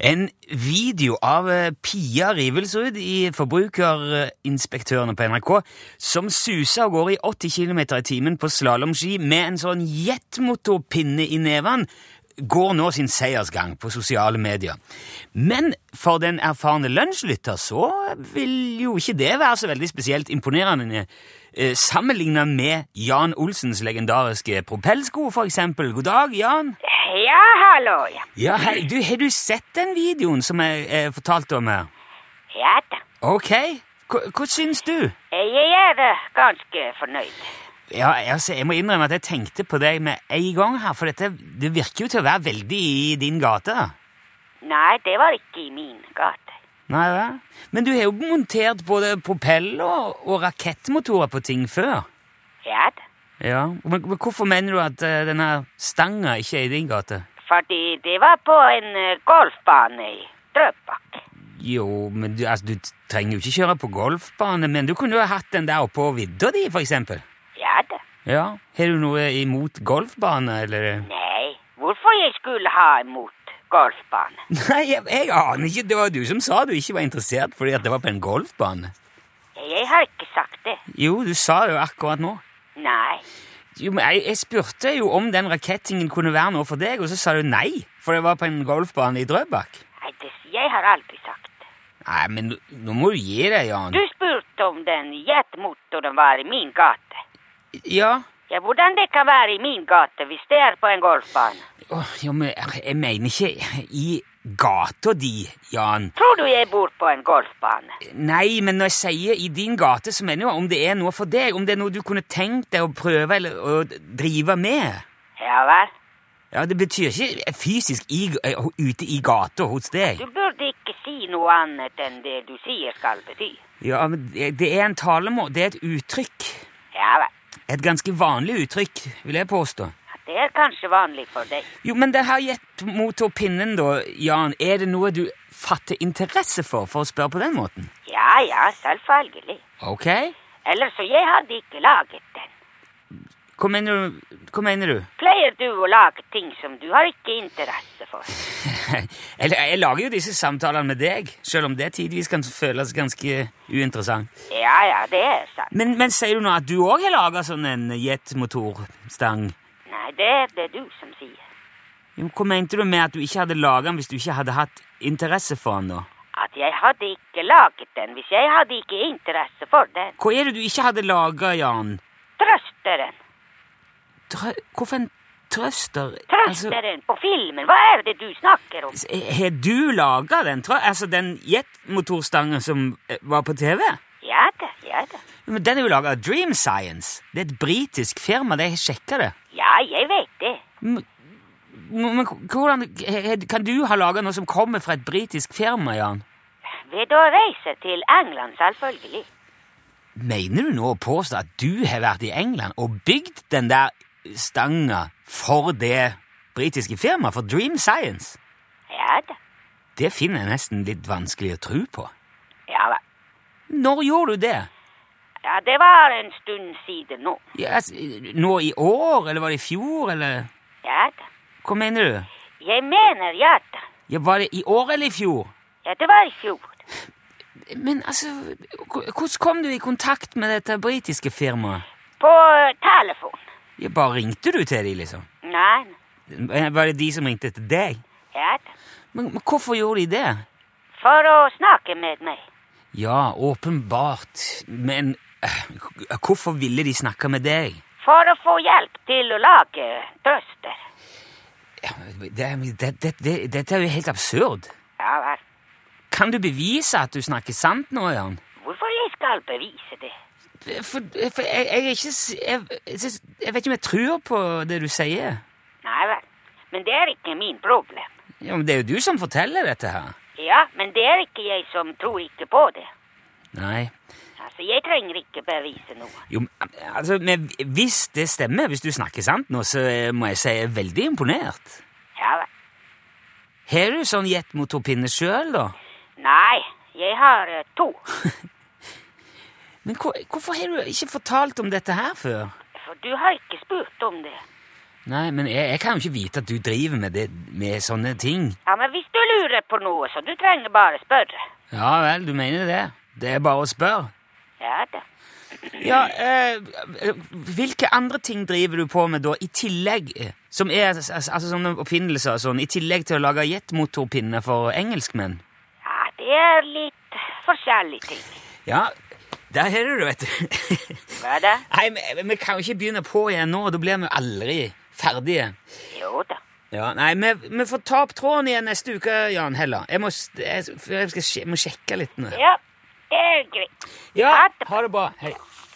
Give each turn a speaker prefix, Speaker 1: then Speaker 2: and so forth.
Speaker 1: En video av eh, Pia Rivelsrud i Forbrukerinspektørene på NRK som suser av gårde i 80 km i timen på slalåmski med en sånn jetmotorpinne i neven, går nå sin seiersgang på sosiale medier. Men for den erfarne lunsjlytter så vil jo ikke det være så veldig spesielt imponerende eh, sammenlignet med Jan Olsens legendariske propellsko, for eksempel. God dag, Jan!
Speaker 2: Ja, hallo, ja.
Speaker 1: Ja, hei, du, har du sett den videoen som jeg, jeg fortalte om her?
Speaker 2: Ja da.
Speaker 1: Ok, hva, hva syns du?
Speaker 2: Jeg er da ganske fornøyd.
Speaker 1: Ja, altså, jeg må innrømme at jeg tenkte på deg med en gang her, for dette det virker jo til å være veldig i din gate. da.
Speaker 2: Nei, det var ikke i min gate.
Speaker 1: Nei vel? Men du har jo montert både propeller og, og rakettmotorer på ting før.
Speaker 2: Ja da.
Speaker 1: Ja, men, men hvorfor mener du at eh, denne stanga ikke er i din gate?
Speaker 2: Fordi det var på en eh, golfbane i Drøbak.
Speaker 1: Jo, men du, altså, du trenger jo ikke kjøre på golfbane, men du kunne jo ha hatt den der oppå vidda di, for eksempel.
Speaker 2: Ja da.
Speaker 1: Ja, Har du noe imot golfbane, eller?
Speaker 2: Nei, hvorfor jeg skulle ha imot golfbane?
Speaker 1: Nei, jeg, jeg aner ikke. Det var du som sa du ikke var interessert fordi at det var på en golfbane.
Speaker 2: Jeg har ikke sagt det.
Speaker 1: Jo, du sa det jo akkurat nå.
Speaker 2: Nei.
Speaker 1: Jo, men jeg, jeg spurte jo om den rakettingen kunne være noe for deg, og så sa du nei, for det var på en golfbane i Drøbak.
Speaker 2: Nei, det, jeg har aldri sagt det.
Speaker 1: Nei, men nå- nå må du gi deg, Jan.
Speaker 2: Du spurte om den jetmotoren var i min gate.
Speaker 1: Ja.
Speaker 2: Ja, hvordan det kan være i min gate hvis det er på en golfbane?
Speaker 1: Åh, jo, men jeg jeg mener ikke i gata di, Jan.
Speaker 2: Tror du jeg bor på en golfbane?
Speaker 1: Nei, men når jeg sier i din gate, så mener jeg om det er noe for deg. Om det er noe du kunne tenkt deg å prøve eller å drive med.
Speaker 2: Ja vel.
Speaker 1: Ja, Det betyr ikke fysisk i, eh, ute i gata hos deg.
Speaker 2: Du burde ikke si noe annet enn det du sier skal bety.
Speaker 1: Ja, men Det det er en talemo, det er et uttrykk.
Speaker 2: Ja vel.
Speaker 1: Et ganske vanlig uttrykk, vil jeg påstå.
Speaker 2: Det er kanskje vanlig for deg.
Speaker 1: Jo, Men det her jetmotorpinnen, da, Jan, er det noe du fatter interesse for, for å spørre på den måten?
Speaker 2: Ja ja, selvfølgelig.
Speaker 1: Ok.
Speaker 2: Ellers så jeg hadde ikke laget den.
Speaker 1: Hva mener du? Hva mener du?
Speaker 2: Pleier du å lage ting som du har ikke interesse for?
Speaker 1: Eller, jeg lager jo disse samtalene med deg, selv om det tidvis kan føles ganske uinteressant.
Speaker 2: Ja ja, det er sant.
Speaker 1: Men, men sier du nå at du òg har laga sånn en jetmotorstang?
Speaker 2: Nei, det er det du som sier.
Speaker 1: Jo, Hva mente du med at du ikke hadde laget den hvis du ikke hadde hatt interesse for den? da?
Speaker 2: At jeg hadde ikke laget den hvis jeg hadde ikke interesse for den.
Speaker 1: Hva er det du ikke hadde laget, Jan?
Speaker 2: Trøsteren.
Speaker 1: Trø Hvorfor en trøster?
Speaker 2: Trøsteren på filmen. Hva er det du snakker om?
Speaker 1: Altså, har du laget den, trø altså, den jetmotorstangen som eh, var på TV?
Speaker 2: Ja da, ja da.
Speaker 1: Men den er jo laget av Dream Science. Det er et britisk firma, de har sjekket det.
Speaker 2: Ja, jeg vet det.
Speaker 1: Men men hvordan he- kan du ha laget noe som kommer fra et britisk firma, Jan?
Speaker 2: Ved å reise til England, selvfølgelig.
Speaker 1: Mener du nå å påstå at du har vært i England og bygd den der stanga for det britiske firmaet, for Dream Science?
Speaker 2: Ja da.
Speaker 1: Det finner jeg nesten litt vanskelig å tro på.
Speaker 2: Ja, vel.
Speaker 1: Når gjorde du det?
Speaker 2: ja, det var en stund siden nå.
Speaker 1: Ja, altså, nå i år, eller var det i fjor, eller
Speaker 2: Ja da.
Speaker 1: Hva mener du?
Speaker 2: Jeg mener ja da.
Speaker 1: Ja, Var det i år eller i fjor?
Speaker 2: Ja, det var i fjor.
Speaker 1: Men altså, h- hvordan kom du i kontakt med dette britiske firmaet?
Speaker 2: På eh, telefon.
Speaker 1: Ja, bare ringte du til dem, liksom?
Speaker 2: Nei, nei.
Speaker 1: Var Eh, det de som ringte til deg?
Speaker 2: ja da.
Speaker 1: Men, men hvorfor gjorde de det?
Speaker 2: For å snakke med meg.
Speaker 1: Ja, åpenbart. Men eh, h- hvorfor ville de snakke med deg?
Speaker 2: For å få hjelp til å lage trøster.
Speaker 1: Ja, men Det, det, det, det, dette er jo helt absurd.
Speaker 2: Ja vel.
Speaker 1: Kan du bevise at du snakker sant nå, Jan?
Speaker 2: Hvorfor jeg skal bevise det?
Speaker 1: For, for jeg, jeg er ikke s- jeg, jeg, synes- jeg vet ikke om jeg tror på det du sier.
Speaker 2: Nei vel. Men det er ikke min problem.
Speaker 1: Ja, men Det er jo du som forteller dette her.
Speaker 2: Ja, men det er ikke jeg som tror ikke på det.
Speaker 1: Nei.
Speaker 2: Altså, jeg trenger ikke bevise noe.
Speaker 1: Jo, men, altså, men Hvis det stemmer, hvis du snakker sant nå, så eh, må jeg si jeg er veldig imponert.
Speaker 2: Ja vel.
Speaker 1: Har du sånn jetmotorpinne sjøl, da?
Speaker 2: Nei, jeg har eh, to.
Speaker 1: Men hvor, hvorfor har du ikke fortalt om dette her før?
Speaker 2: For du har ikke spurt om det.
Speaker 1: Nei, men jeg, jeg kan jo ikke vite at du driver med, det, med sånne ting.
Speaker 2: Ja, men hvis du lurer på noe, så du trenger bare spørre.
Speaker 1: Ja vel, du mener det. Det er bare å spørre.
Speaker 2: Ja da.
Speaker 1: Ja, eh, eh, hvilke andre ting driver du på med da, i tillegg? eh, Som er altså, altså, sånne oppfinnelser og sånn, i tillegg til å lage jetmotorpinner for engelskmenn?
Speaker 2: Ja, det er litt forskjellige ting.
Speaker 1: Ja, der har du det, vet du.
Speaker 2: Hva da?
Speaker 1: Nei, men vi kan jo ikke begynne på igjen nå, da blir vi aldri ferdige.
Speaker 2: Jo da.
Speaker 1: Ja, nei, vi, vi får ta opp tråden igjen neste uke, Jan Hella. Jeg må, s- jeg, jeg skal, sje- må sjekke litt nå.
Speaker 2: Ja, det er greit.
Speaker 1: Ja, ha det bra. Hei.